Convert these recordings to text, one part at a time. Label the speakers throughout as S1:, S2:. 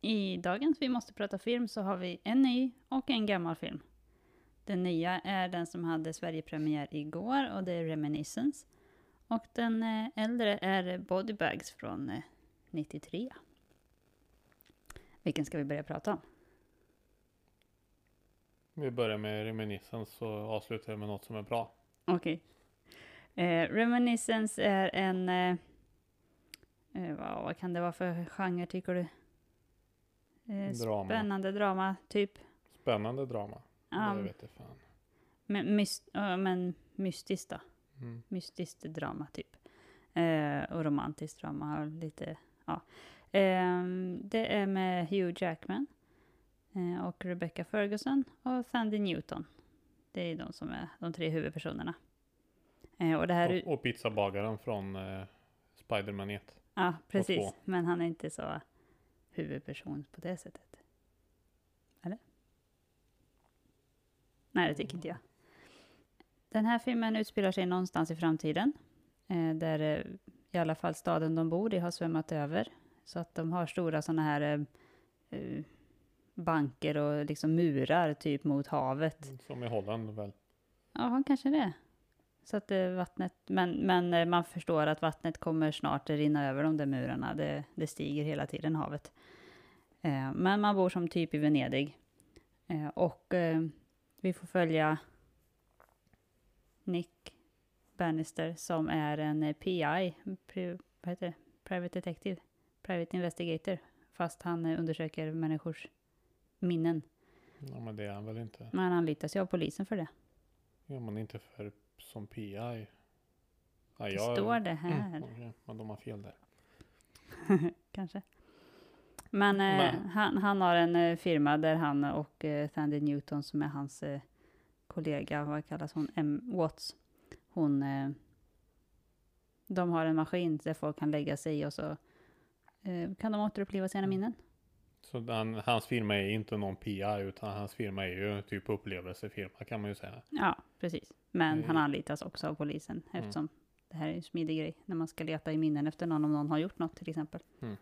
S1: I dagens Vi måste prata film så har vi en ny och en gammal film. Den nya är den som hade Sverigepremiär igår och det är Reminiscence. Och den eh, äldre är Bodybags från eh, 93. Vilken ska vi börja prata om?
S2: Vi börjar med reminiscens så avslutar vi med något som är bra.
S1: Okej. Eh, Reminiscence är en... Eh, eh, vad, vad kan det vara för genre tycker du? Eh,
S2: Drama.
S1: Spännande drama, typ.
S2: Spännande drama.
S1: Ja,
S2: Det vet jag fan.
S1: men, myst, ja, men mystiskt då.
S2: Mm.
S1: mystiskt drama typ. Eh, och romantiskt drama och lite, ja. Ehm, det är med Hugh Jackman eh, och Rebecca Ferguson och Sandy Newton. Det är de som är de tre huvudpersonerna. Eh, och det här...
S2: Och, och pizzabagaren från eh, Spiderman 1.
S1: Ja,
S2: två.
S1: precis. Men han är inte så huvudperson på det sättet. Eller? Nej, det tycker inte jag. Den här filmen utspelar sig någonstans i framtiden. Eh, där eh, i alla fall staden de bor i har svämmat över. Så att de har stora sådana här eh, eh, banker och liksom murar typ mot havet.
S2: Som i Holland väl.
S1: Ja, kanske det. Så att eh, vattnet, men, men eh, man förstår att vattnet kommer snart att rinna över de där murarna. Det, det stiger hela tiden, havet. Eh, Men man bor som typ i Venedig. Eh, Och eh, vi får följa Nick Bannister som är en eh, PI, pri- vad heter det? Private Detective, Private Investigator. Fast han eh, undersöker människors minnen.
S2: Ja men det är han väl inte.
S1: Men han anlitas ju av polisen för det.
S2: Ja men inte för som PI. Ja,
S1: Det
S2: jag-
S1: står det här.
S2: Mm, okej, men de har fel där.
S1: kanske. Men eh,
S2: Men-
S1: han, han har en eh, firma där han och eh, Sandy Newton som är hans eh, kollega, vad kallas hon, M. Watts, hon, eh, de har en maskin där folk kan lägga sig i och så eh, kan de återuppliva sina
S2: Mm.
S1: minnen.
S2: Så han, hans firma är inte någon PI utan hans firma är ju typ upplevelsefirma kan man ju säga.
S1: Ja, precis. Men
S2: Mm.
S1: han anlitas också av polisen
S2: Mm.
S1: eftersom det här är en smidig grej när man ska leta i minnen efter någon om någon har gjort något till exempel.
S2: Mm.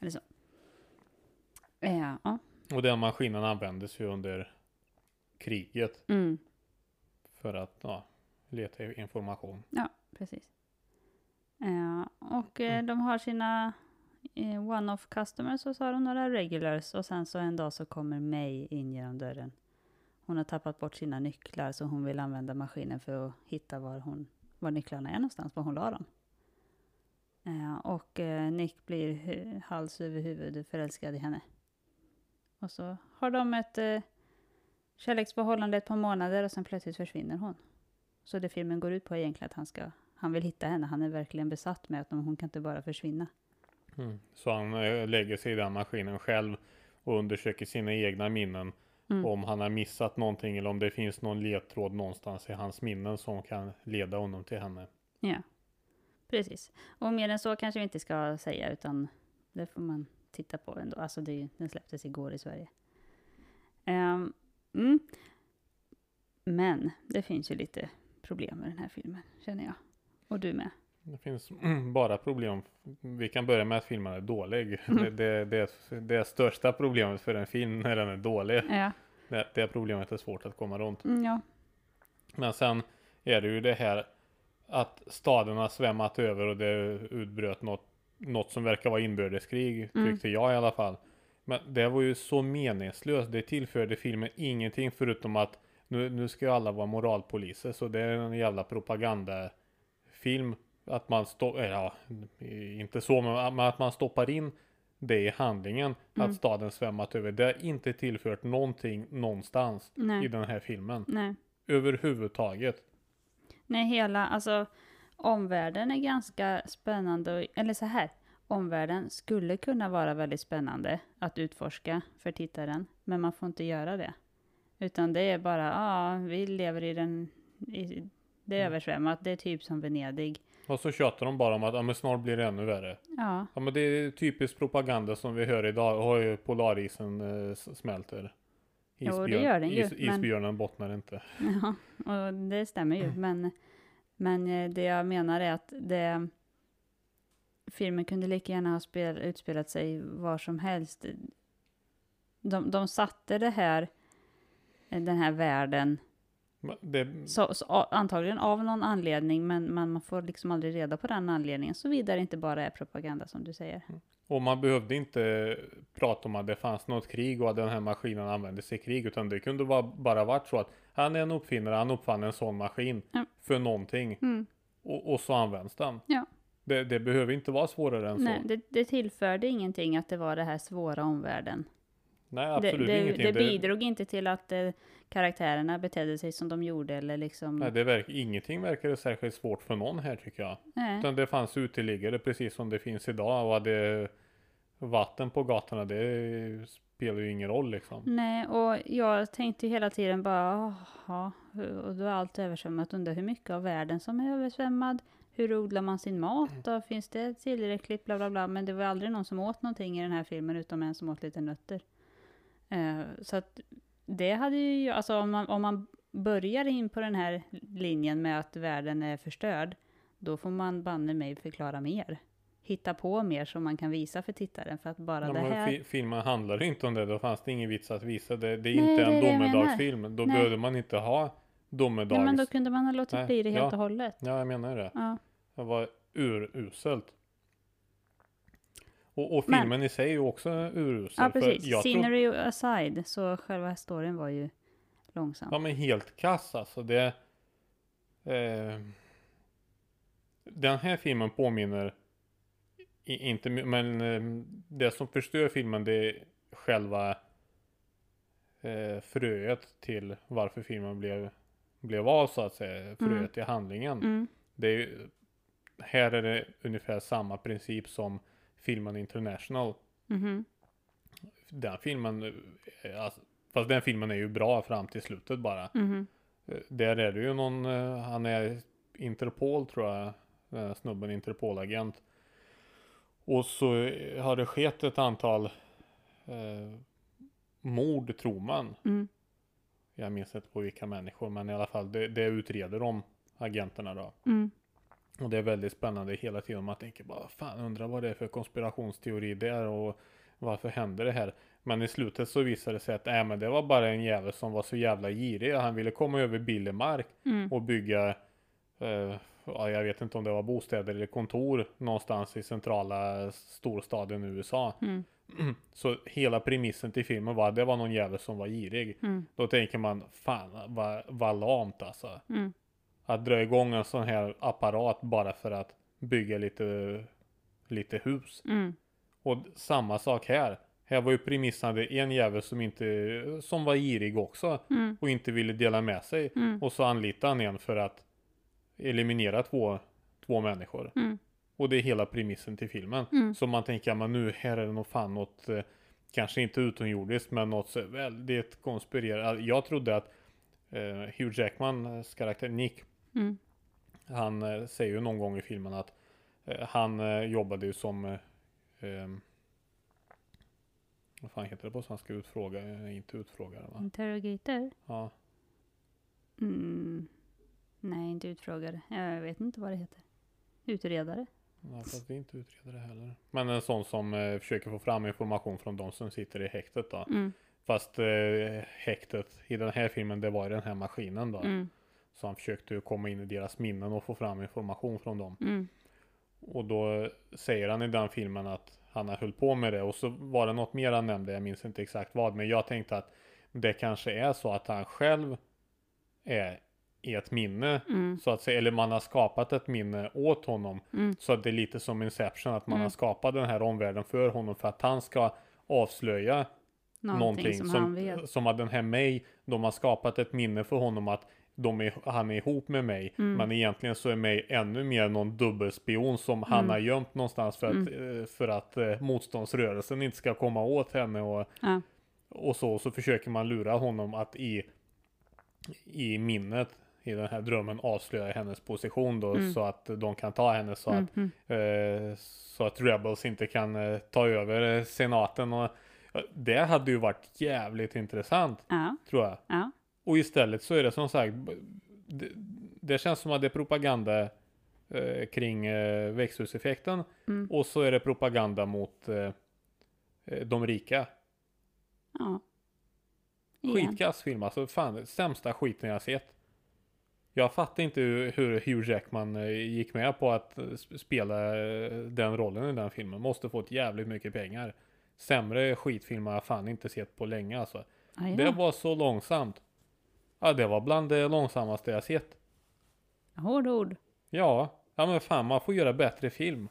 S1: Eller så. Eh, ja.
S2: Och den maskinen användes ju under kriget
S1: Mm.
S2: för att ja, leta information.
S1: Precis. Eh, och eh,
S2: Mm.
S1: de har sina eh, one-off customers och så har de några regulars och sen så en dag så kommer May in genom dörren. Hon har tappat bort sina nycklar så hon vill använda maskinen för att hitta var, hon, var nycklarna är någonstans, var hon la dem. Eh, och eh, Nick blir hu- hals över huvud förälskad i henne. Och så har de ett eh, kärleksförhållande ett par månader och sen plötsligt försvinner hon. Så det filmen går ut på är egentligen att han, ska, han vill hitta henne. Han är verkligen besatt med att de- hon kan inte bara försvinna.
S2: Mm. Så han eh, lägger sig i den maskinen själv och undersöker sina egna minnen.
S1: Mm.
S2: Om han har missat någonting eller om det finns någon ledtråd någonstans i hans minnen som kan leda honom till henne.
S1: Ja, precis. Och mer än så kanske vi inte ska säga, utan det får man titta på ändå. Alltså det, är ju- den släpptes igår i Sverige. Ehm, mm. Men det finns ju lite problem med den här filmen, känner jag. Och du med.
S2: Det finns bara problem. Vi kan börja med att filmen är dålig. Det, det, det, det största problemet för en film när den är dålig.
S1: Ja,
S2: Det, det problemet är svårt att komma runt.
S1: mm, ja.
S2: Men sen är det ju det här att staden har svämmat över och det utbröt något, något som verkar vara inbördeskrig,
S1: Mm.
S2: tyckte jag i alla fall. Men det var ju så meningslöst. Det tillförde filmen ingenting förutom att nu, nu ska ju alla vara moralpoliser, så det är en jävla propagandafilm. Att man stoppar, ja, inte så, men men att man stoppar in det i handlingen,
S1: Mm.
S2: att staden svämmat över. Det har inte tillfört någonting någonstans i
S1: Nej.
S2: den här filmen.
S1: Nej.
S2: Överhuvudtaget.
S1: Nej, hela, alltså omvärlden är ganska spännande, och, eller så här, omvärlden skulle kunna vara väldigt spännande att utforska för tittaren, men man får inte göra det. Utan det är bara, ja, vi lever i den, i, det är
S2: Mm.
S1: översvämmat, det är typ som Venedig.
S2: Och så tjatar de bara om att ja, men snart blir det ännu värre.
S1: Ja,
S2: Ja men det är typisk propaganda som vi hör idag. Har ju polarisen eh, s- smälter.
S1: Jo, det gör den ju,
S2: is,
S1: men-
S2: isbjörnen bottnar inte.
S1: ja, och det stämmer ju, men, men eh, det jag menar är att det, filmen kunde lika gärna ha spel, utspelat sig var som helst. De, de satte det här, eh, den här världen,
S2: Men Det,
S1: så, så, a- antagligen av någon anledning, men man, man får liksom aldrig reda på den anledningen, såvida det inte bara är propaganda som du säger.
S2: och man behövde inte prata om att det fanns något krig och att den här maskinen användes i krig. Utan det kunde bara, bara varit så att han är en uppfinnare, han uppfann en sån maskin
S1: Ja.
S2: för någonting.
S1: Mm.
S2: Och, och så används den.
S1: Ja.
S2: Det, det behöver inte vara svårare än så.
S1: Nej, det, det tillförde ingenting att det var det här svåra omvärlden.
S2: Nej,
S1: Det,
S2: absolut
S1: det,
S2: ingenting.
S1: det bidrog inte till att eh, karaktärerna betedde sig som de gjorde eller liksom...
S2: Nej, det verk, ingenting verkade särskilt svårt för någon här tycker jag.
S1: Nej.
S2: Utan det fanns uteliggare precis som det finns idag och hade vatten på gatorna det spelar ju ingen roll liksom.
S1: Nej, och jag tänkte hela tiden bara, jaha, hur- och då är allt översvämmat. Undrar hur mycket av världen som är översvämmad? Hur odlar man sin
S2: Mm.
S1: mat då? Finns det tillräckligt? Bla, bla, bla. Men det var aldrig någon som åt någonting i den här filmen, utom en som åt lite nötter. Eh, så att det hade ju, jag- alltså om man, om man börjar in på den här linjen med att världen är förstörd, då får man banne mig förklara mer. Hitta på mer som man kan visa för tittaren, för att bara
S2: Ja,
S1: det
S2: men
S1: här...
S2: fi- filmen handlar inte om det, då fanns det ingen vits att visa det. Det är
S1: Nej,
S2: inte
S1: det är
S2: en
S1: det jag menar.
S2: domedagsfilm. Då
S1: Nej.
S2: behövde man inte ha domedags.
S1: Nej, men då kunde man ha låtit
S2: Nej,
S1: bli det helt
S2: ja.
S1: och hållet.
S2: Ja, jag menar det.
S1: Ja.
S2: Det var uruselt. Och, och
S1: Men-
S2: filmen i sig är ju också urusel.
S1: ja,
S2: för
S1: precis.
S2: jag tror-
S1: Scenery aside, så själva storyn var ju långsam.
S2: Ja men helt kass alltså. Det, eh, den här filmen påminner i, inte my- men eh, det som förstör filmen det är själva eh, fröet till varför filmen blev, blev av så att säga. Fröet
S1: Mm.
S2: i handlingen.
S1: Mm.
S2: Det är, ju- här är det ungefär samma princip som filmen International.
S1: Mhm.
S2: Den filmen, eh, alltså, fast den filmen är ju bra fram till slutet bara.
S1: Mhm.
S2: Eh, Där är det ju någon, eh, han är Interpol tror jag, den här snubben, Interpolagent. Och så eh, har det skett ett antal eh, mord tror man.
S1: Mm.
S2: Jag minns inte på vilka människor, men i alla fall det, det utreder de agenterna då.
S1: Mm.
S2: Och det är väldigt spännande hela tiden. Man tänker bara, fan undrar vad det är för konspirationsteori där och varför händer det här? Men i slutet så visade det sig att äh, men det var bara en jävel som var så jävla girig. Han ville komma över billig mark
S1: Mm.
S2: och bygga, eh, ja, jag vet inte om det var bostäder eller kontor någonstans i centrala storstaden i USA.
S1: Mm.
S2: Så hela premissen till filmen var det var någon jävel som var girig.
S1: Mm.
S2: Då tänker man, fan vad, vad lamt alltså.
S1: Mm.
S2: Att dra igång en sån här apparat bara för att bygga lite, lite hus.
S1: Mm.
S2: Och samma sak här. Här var ju premissen att det är en jävel som, inte, som var girig också
S1: Mm.
S2: och inte ville dela med sig.
S1: Mm.
S2: Och så anlitar han en för att eliminera två, två människor.
S1: Mm.
S2: Och det är hela premissen till filmen.
S1: Mm.
S2: Så man tänker, men nu här är det nog fan något, eh, kanske inte utomjordiskt, men något så väldigt konspirerat. Alltså, Jag trodde att eh, Hugh Jackmans eh, karaktär Nick,
S1: Mm.
S2: han eh, säger ju någon gång i filmen att eh, han eh, jobbade ju som eh, ehm, vad fan heter det på svenska? Utfråga, eh, inte utfrågare
S1: Mm.
S2: va?
S1: Interrogator?
S2: Ja.
S1: Mm. Nej, inte utfrågare. Jag vet inte vad det heter. Utredare?
S2: Ja, fast det är inte utredare heller. Men en sån som eh, försöker få fram information från de som sitter i häktet då.
S1: Mm.
S2: Fast eh, häktet i den här filmen, det var ju den här maskinen då.
S1: Mm.
S2: Så han försökte ju komma in i deras minnen och få fram information från dem.
S1: Mm.
S2: Och då säger han i den filmen att han har höll på med det. Och så var det något mer han nämnde, jag minns inte exakt vad. Men jag tänkte att det kanske är så att han själv är i ett minne.
S1: Mm.
S2: Så att säga, eller man har skapat ett minne åt honom.
S1: Mm.
S2: Så att det är lite som Inception, att man
S1: Mm.
S2: har skapat den här omvärlden för honom för att han ska avslöja
S1: Någonting, som, han vet.
S2: som att den här mig, de har skapat ett minne för honom att de är, han är ihop med mig.
S1: Mm.
S2: Men egentligen så är mig ännu mer någon dubbelspion som han
S1: Mm.
S2: har gömt någonstans för att, eh, för att eh, motståndsrörelsen inte ska komma åt henne. Och,
S1: Ja.
S2: och så, så försöker man lura honom att i, i minnet, i den här drömmen, avslöja hennes position då
S1: Mm.
S2: så att de kan ta henne så att
S1: Mm. Mm.
S2: Eh, så att Rebels inte kan eh, ta över eh, senaten. Och, ja, det hade ju varit jävligt intressant,
S1: Ja.
S2: tror jag.
S1: Ja.
S2: Och istället så är det som sagt, b- det, det känns som att det är propaganda eh, kring eh, växthuseffekten
S1: Mm.
S2: och så är det propaganda mot eh, eh, de rika.
S1: Ja. Igen.
S2: Skitkass film alltså. Fan, sämsta skiten jag har sett. Jag fattar inte hur, hur Hugh Jackman eh, gick med på att eh, sp- spela eh, den rollen i den filmen. Måste fått jävligt mycket pengar. Sämre skitfilm har jag fan inte sett på länge alltså.
S1: Ja, ja.
S2: Det var så långsamt. Ja, det var bland det långsammaste jag sett.
S1: Hårda ord.
S2: Ja, ja men fan man får göra bättre film.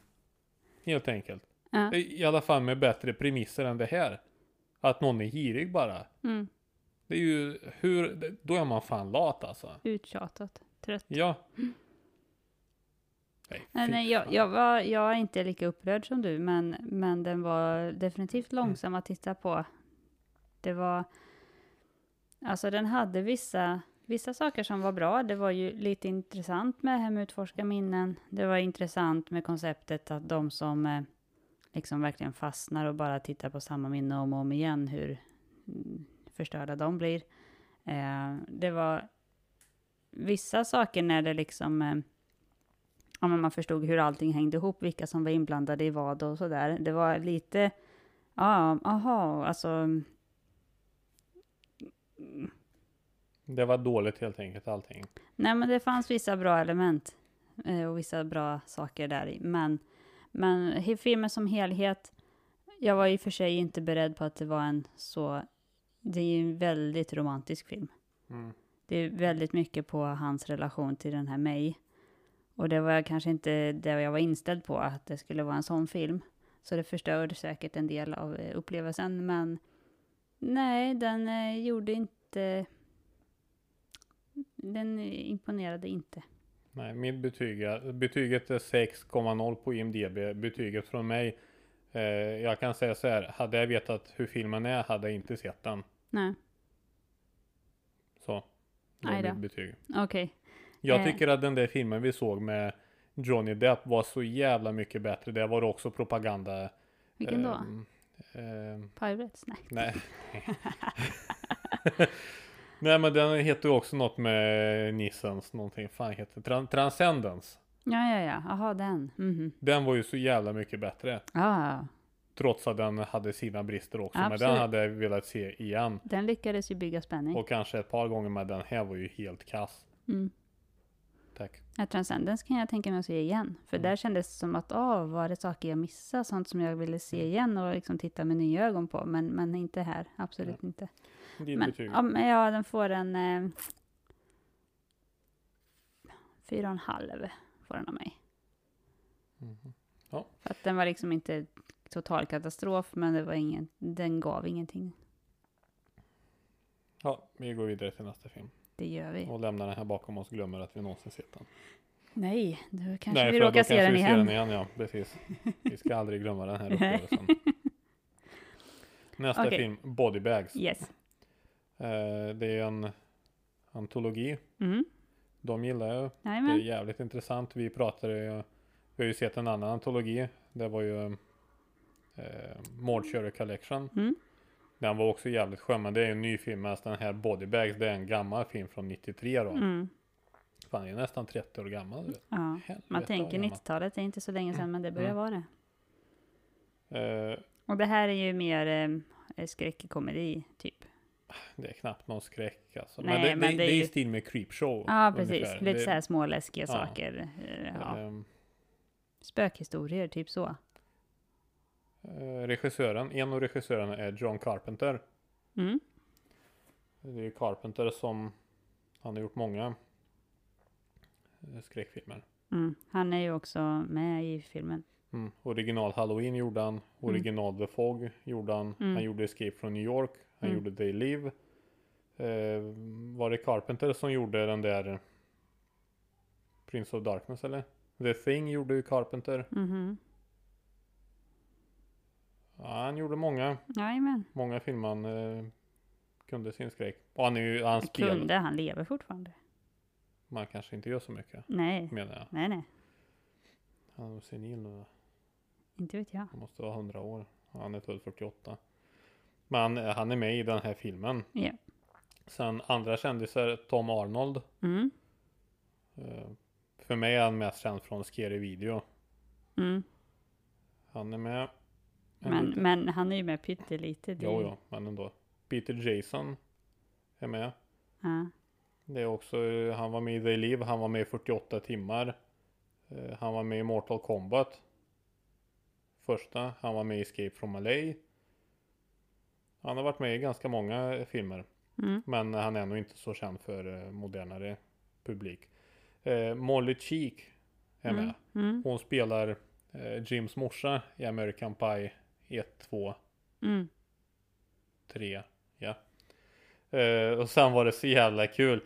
S2: Helt enkelt.
S1: Ja.
S2: I i alla fall med bättre premisser än det här. Att någon är girig bara.
S1: Mm.
S2: Det är ju hur, det- då är man fan lat alltså.
S1: Uttjatat. Trött.
S2: Ja. Nej,
S1: Mm. Nej,
S2: fy
S1: nej, jag,
S2: fan.
S1: jag, var, jag är inte lika upprörd som du, men, men den var definitivt
S2: Mm.
S1: långsam att titta på. Det var... Alltså den hade vissa, vissa saker som var bra. Det var ju lite intressant med Hemutforska minnen. Det var intressant med konceptet att de som eh, liksom verkligen fastnar och bara tittar på samma minne om och om igen, hur mm, förstörda de blir. Eh, det var vissa saker när det liksom... Eh, ja, men man förstod hur allting hängde ihop, vilka som var inblandade i vad och sådär. Det var lite, ja, aha, alltså,
S2: Det var dåligt helt enkelt allting.
S1: nej men det fanns vissa bra element eh, och vissa bra saker där i. men, men he- filmen som helhet, jag var i och för sig inte beredd på att det var en så, det är ju en väldigt romantisk film.
S2: Mm.
S1: Det är väldigt mycket på hans relation till den här mig. Och det var jag kanske inte det jag var inställd på, att det skulle vara en sån film. Så det förstörde säkert en del av eh, upplevelsen, men nej, den eh, gjorde inte... Den eh, imponerade inte.
S2: Nej, mitt betyg är, betyget är 6,0 på IMDB. Betyget från mig. Eh, jag kan säga så här. Hade jag vetat hur filmen är hade jag inte sett den.
S1: Nej,
S2: Så. Det
S1: Aj
S2: är
S1: då.
S2: mitt betyg.
S1: okej.
S2: Jag
S1: Eh.
S2: tycker att den där filmen vi såg med Johnny Depp var så jävla mycket bättre. Det var också propaganda.
S1: Vilken då?
S2: Ehm, ehm,
S1: Pirates? Nej.
S2: nej. nej men den heter ju också något med Nissens någonting. Fan heter Tran- Transcendence.
S1: Ja, ja, ja. Jaha, den. Mhm.
S2: Den var ju så jävla mycket bättre.
S1: Ja, ja.
S2: Trots att den hade sina brister också. Men den
S1: Absolut. Mm.
S2: hade jag velat se igen.
S1: den lyckades ju bygga spänning.
S2: Och kanske ett par gånger med den här var ju helt kass.
S1: Mm.
S2: Tack.
S1: Ja, Transcendence kan jag tänka mig att se igen. För
S2: Mm.
S1: där kändes det som att, åh, var det saker jag missade? Sånt som jag ville
S2: Mm.
S1: se igen och liksom titta med nya ögon på. Men, men inte här, absolut inte.
S2: Ditt
S1: Men
S2: betyg.
S1: ja, men ja, den får en... Eh, fyra och en halv får den av mig.
S2: Mhm. Ja.
S1: För att den var liksom inte total katastrof, men det var ingen, den gav ingenting.
S2: Ja, vi går vidare till nästa film.
S1: Det gör vi.
S2: Och lämnar den här bakom oss och glömmer att vi någonsin sett den.
S1: Nej, då kanske vi
S2: för då
S1: råkar se
S2: kanske
S1: den
S2: vi
S1: igen.
S2: ser den igen. Ja, precis. Vi ska aldrig glömma den här
S1: Nej.
S2: upplevelsen. Nästa
S1: Okej.
S2: film, Body Bags.
S1: Yes.
S2: Eh, det är en antologi.
S1: Mm.
S2: De gillar jag. Det är
S1: Jajamän.
S2: jävligt intressant. Vi pratade ju, vi har ju sett en annan antologi. Det var ju eh, Mordkörer Collection.
S1: Mm.
S2: Den var också jävligt skön, men det är en ny film. Medan den här Body Bags, det är en gammal film från 93 då.
S1: Mm.
S2: Fan, den är nästan 30 år gammal. du vet.
S1: Ja.
S2: Helvete
S1: Man
S2: vad
S1: tänker
S2: gammal.
S1: 90-talet, det är inte så länge sedan, men det börjar
S2: Mm.
S1: vara det.
S2: Eh,
S1: Och det här är ju mer eh, skräckkomedi, typ.
S2: Det är knappt någon skräck alltså.
S1: Nej,
S2: men, det,
S1: men
S2: det,
S1: det är
S2: det är
S1: ju-
S2: i stil med Creepshow.
S1: Ja, precis.
S2: ungefär.
S1: Lite
S2: Det-
S1: så här småläskiga
S2: ja.
S1: saker. eh, Ja.
S2: ehm,
S1: Spökhistorier, typ så.
S2: eh, regissören, en av regissörerna är John Carpenter.
S1: Mm.
S2: Det är ju Carpenter som, han har gjort många eh, skräckfilmer.
S1: Mm. Han är ju också med i filmen.
S2: Mm. Original Halloween gjorde han, original The Fog gjorde han,
S1: Mm.
S2: han gjorde Escape from New York, han
S1: Mm.
S2: gjorde They Live. Eh, var det Carpenter som gjorde den där eh, Prince of Darkness eller? The Thing gjorde ju Carpenter.
S1: Mhm.
S2: Ja, han gjorde många.
S1: Jajamän.
S2: Många filmer han eh, kunde sin skräck. Och han är ju, han spelar.
S1: Kunde, han lever fortfarande.
S2: Man kanske inte gör så mycket.
S1: Nej,
S2: Menar jag.
S1: nej, nej.
S2: Han är senil nu.
S1: Inte vet jag.
S2: Han måste vara 100 år. Han är född 48. Men han, han är med i den här filmen.
S1: Ja.
S2: Sen andra kändisar, Tom Arnold.
S1: Mm.
S2: Eh, för mig är han mest känd från Scary Video.
S1: Mm.
S2: Han är med. En
S1: Men,
S2: liten-
S1: men han är ju med pyttelite. det-
S2: Jo, jo, men ändå. Peter Jason är med.
S1: Ja.
S2: Det är också, eh, han var med i They Live, han var med i 48 timmar. Eh, Han var med i Mortal Kombat. Första, han var med i Escape from LA. Han har varit med i ganska många eh, filmer.
S1: Mm.
S2: Men han är nog inte så känd för eh, modernare publik. Eh, Molly Cheek är med.
S1: Mm. Mm.
S2: Hon spelar eh, Jims morsa i American Pie 1, 2,
S1: Mm.
S2: 3. Ja. Eh, och sen var det så jävla kul.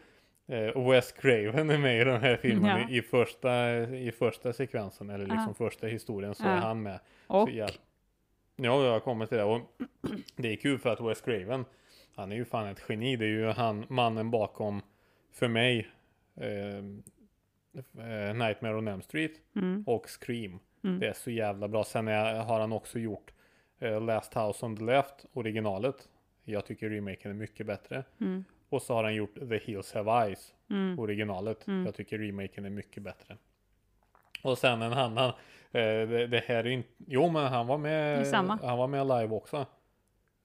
S2: Eh, Wes Craven är med i den här filmen
S1: Ja.
S2: i, i, första, i första sekvensen, eller liksom första historien, så
S1: Ja.
S2: är han med.
S1: Och?
S2: ja. Ja, jag kommer till det. Och det är kul för att Wes Craven, han är ju fan ett geni. Det är ju han, mannen bakom, för mig, eh, eh, Nightmare on Elm Street
S1: Mm.
S2: och Scream.
S1: Mm.
S2: Det är så jävla bra. Sen är, har han också gjort eh, Last House on the Left, originalet. Jag tycker remaken är mycket bättre.
S1: Mm.
S2: Och så har han gjort The Hills Have Eyes,
S1: Mm.
S2: originalet.
S1: Mm.
S2: Jag tycker remaken är mycket bättre. Och sen en annan, eh, det, det här är inte, jo men han var
S1: Det är
S2: med,
S1: samma.
S2: han var med live också.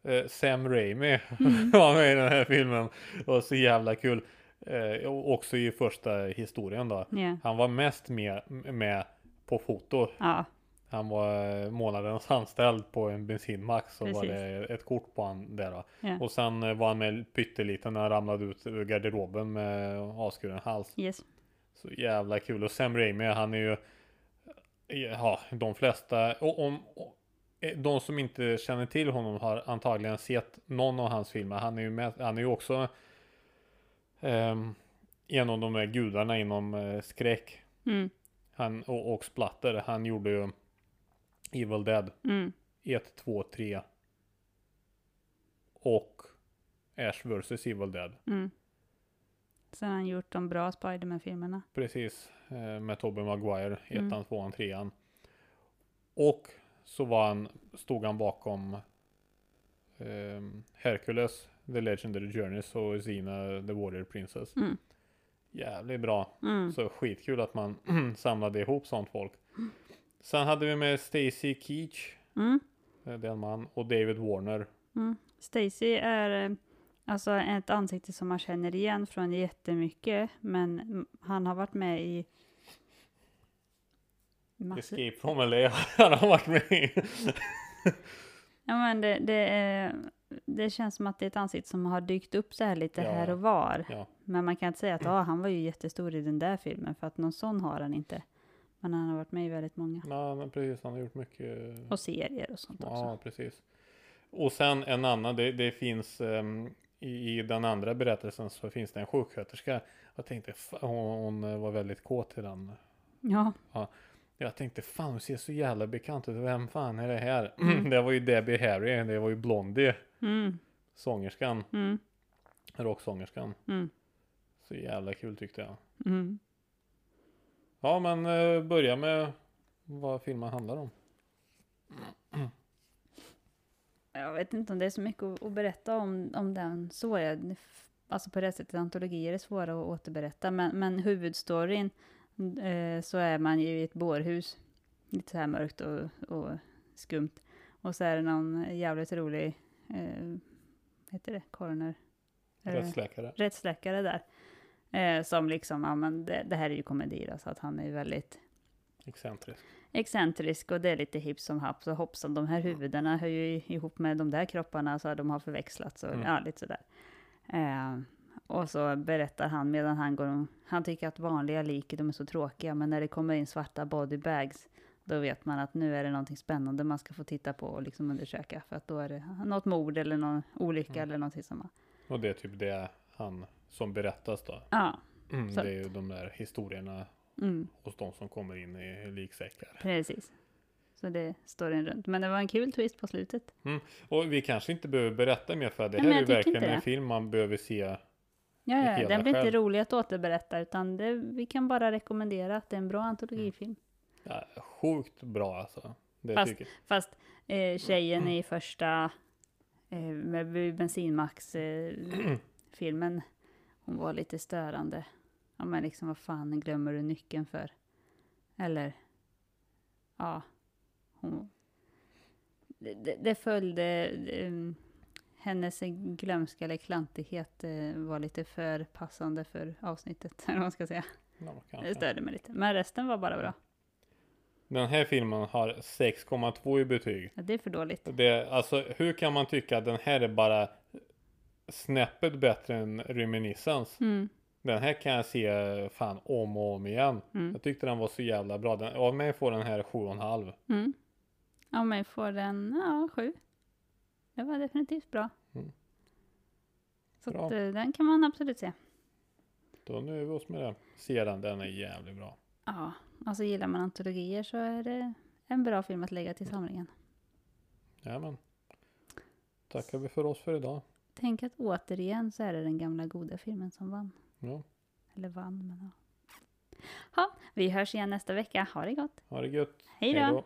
S2: Eh, Sam Raimi
S1: Mm.
S2: var med i den här filmen. Och så jävla kul. Eh, och också i första historien då.
S1: Ja.
S2: Han var mest med, med på foto.
S1: Ja.
S2: Han var eh, månadens anställd på en bensinmack så var
S1: Precis.
S2: det ett kort på han där då.
S1: Ja.
S2: Och sen eh, var han med pytteliten när han ramlade ut ur garderoben med avskuren hals.
S1: Yes.
S2: Så jävla kul. Och Sam Raimi han är ju, eh, ja de flesta, och om och, eh, de som inte känner till honom har antagligen sett någon av hans filmer. Han är ju, med, han är ju också ehm, en av de här gudarna inom eh, skräck.
S1: Mm.
S2: Han, och, och Splatter, han gjorde ju Evil Dead
S1: Mm.
S2: 1, 2, 3 och Ash vs Evil Dead.
S1: Mm. Sen har han gjort de bra Spiderman-filmerna.
S2: Precis, eh, med Tobey Maguire,
S1: Mm.
S2: ettan, tvåan, trean. Och så var han, stod han bakom eh, Hercules, The Legendary Journeys och Xena, The Warrior Princess.
S1: Mm.
S2: Jävligt bra.
S1: Mm.
S2: Så skitkul att man samlade ihop sånt folk. Sen hade vi med Stacy Keach.
S1: Mm.
S2: Eh, Det är en man. Och David Warner.
S1: Mm. Stacy är eh, alltså ett ansikte som man känner igen från jättemycket, men mm, han har varit med i massor.
S2: Escape from LA han har varit med i.
S1: Ja, men det, det, är, det känns som att det är ett ansikte som har dykt upp så här lite
S2: Ja,
S1: här
S2: ja.
S1: och var.
S2: Ja.
S1: Men man kan inte säga att ah, han var ju jättestor i den där filmen, för att någon sån har han inte. Men han har varit med i väldigt många.
S2: Ja, men precis. Han har gjort mycket. eh,
S1: Och serier och sånt också.
S2: Mm. Ja, precis. Och sen en annan. Det, det finns ehm, i, i den andra berättelsen så finns det en sjuksköterska. Jag tänkte, fa- hon, hon eh, var väldigt kåt i den.
S1: Ja.
S2: Jag tänkte, fan hon ser så jävla bekant ut. Vem fan är det här? det var ju Debbie Harry. Det var ju Blondie.
S1: Mm,
S2: Sångerskan.
S1: mm,
S2: Rocksångerskan.
S1: mm,
S2: Så jävla kul tyckte jag.
S1: mm.
S2: Ja, men eh, börja med vad filmen handlar om.
S1: Jag vet inte om det är så mycket att, att berätta om, om den så. Jag, alltså på det sättet, antologier är svåra att återberätta. Men, men huvudstoryn, eh, så är man ju i ett bårhus. Lite så här mörkt och, och skumt. Och så är det någon jävligt rolig, eh, heter det, coroner? Eh,
S2: Rättsläkare.
S1: rättsläkare där. Eh, som liksom, ja men det, det här är ju komedi då, så att han är ju väldigt
S2: Excentrisk.
S1: excentrisk och det är lite hipp som happ. Så hoppsan, de här huvudena hör ju i- ihop med de där kropparna så de har förväxlats och
S2: Mm.
S1: ja, lite sådär. Eh, och så berättar han medan han går om, han tycker att vanliga lik de är så tråkiga, men när det kommer in svarta bodybags då vet man att nu är det någonting spännande man ska få titta på och liksom undersöka. För att då är det något mord eller någon olycka
S2: Mm.
S1: eller någonting som...
S2: Och det är typ det han som berättas då.
S1: Ja,
S2: Mm,
S1: Så
S2: det är ju de där historierna
S1: mm.
S2: hos de som kommer in i liksäckar.
S1: Precis. Så det står en runt. Men det var en kul twist på slutet.
S2: Och vi kanske inte behöver berätta mer för det
S1: Nej,
S2: här
S1: men
S2: är ju
S1: jag tycker
S2: verkligen
S1: inte
S2: en
S1: det.
S2: film man behöver se.
S1: Ja,
S2: Det
S1: ja,
S2: hela
S1: den blir inte
S2: själv.
S1: rolig att återberätta, utan det, vi kan bara rekommendera att det är en bra antologifilm.
S2: Mm. Ja, sjukt bra alltså. Det
S1: Fast-
S2: tycker
S1: Fast eh, tjejen
S2: Mm.
S1: i första eh, med b- bensinmax-filmen, eh, filmen, hon var lite störande. Ja, men liksom vad fan glömmer du nyckeln för? Eller, ja, hon... Det, det, det följde eh, hennes glömska eller klantighet eh, var lite för passande för avsnittet, eller vad man ska säga.
S2: Ja,
S1: Det
S2: kanske.
S1: störde mig lite. Men resten var bara bra.
S2: Den här filmen har 6,2 i betyg.
S1: Ja, det är för dåligt.
S2: Det, alltså, hur kan man tycka att den här är bara snäppet bättre än Reminiscence?
S1: Mm.
S2: Den här kan jag se eh, fan om och om igen.
S1: Mm.
S2: Jag tyckte den var så jävla bra. Den, av mig får den här 7,5.
S1: Mm. Ja, men jag får en ja, sju. Det var definitivt bra.
S2: Mm.
S1: Så
S2: Bra.
S1: Att, eh, den kan man absolut se.
S2: Då nu är vi oss med den. Se den, den är jävligt bra.
S1: Ja, alltså gillar man antologier så är det en bra film att lägga till samlingen.
S2: Jajamän. Tackar vi för oss för idag.
S1: Tänk att återigen så är det den gamla goda filmen som vann.
S2: Ja.
S1: Eller vann, men ja. Ha, vi hörs igen nästa vecka. Ha det gott.
S2: Ha det gött.
S1: Hej då!
S2: Hej då.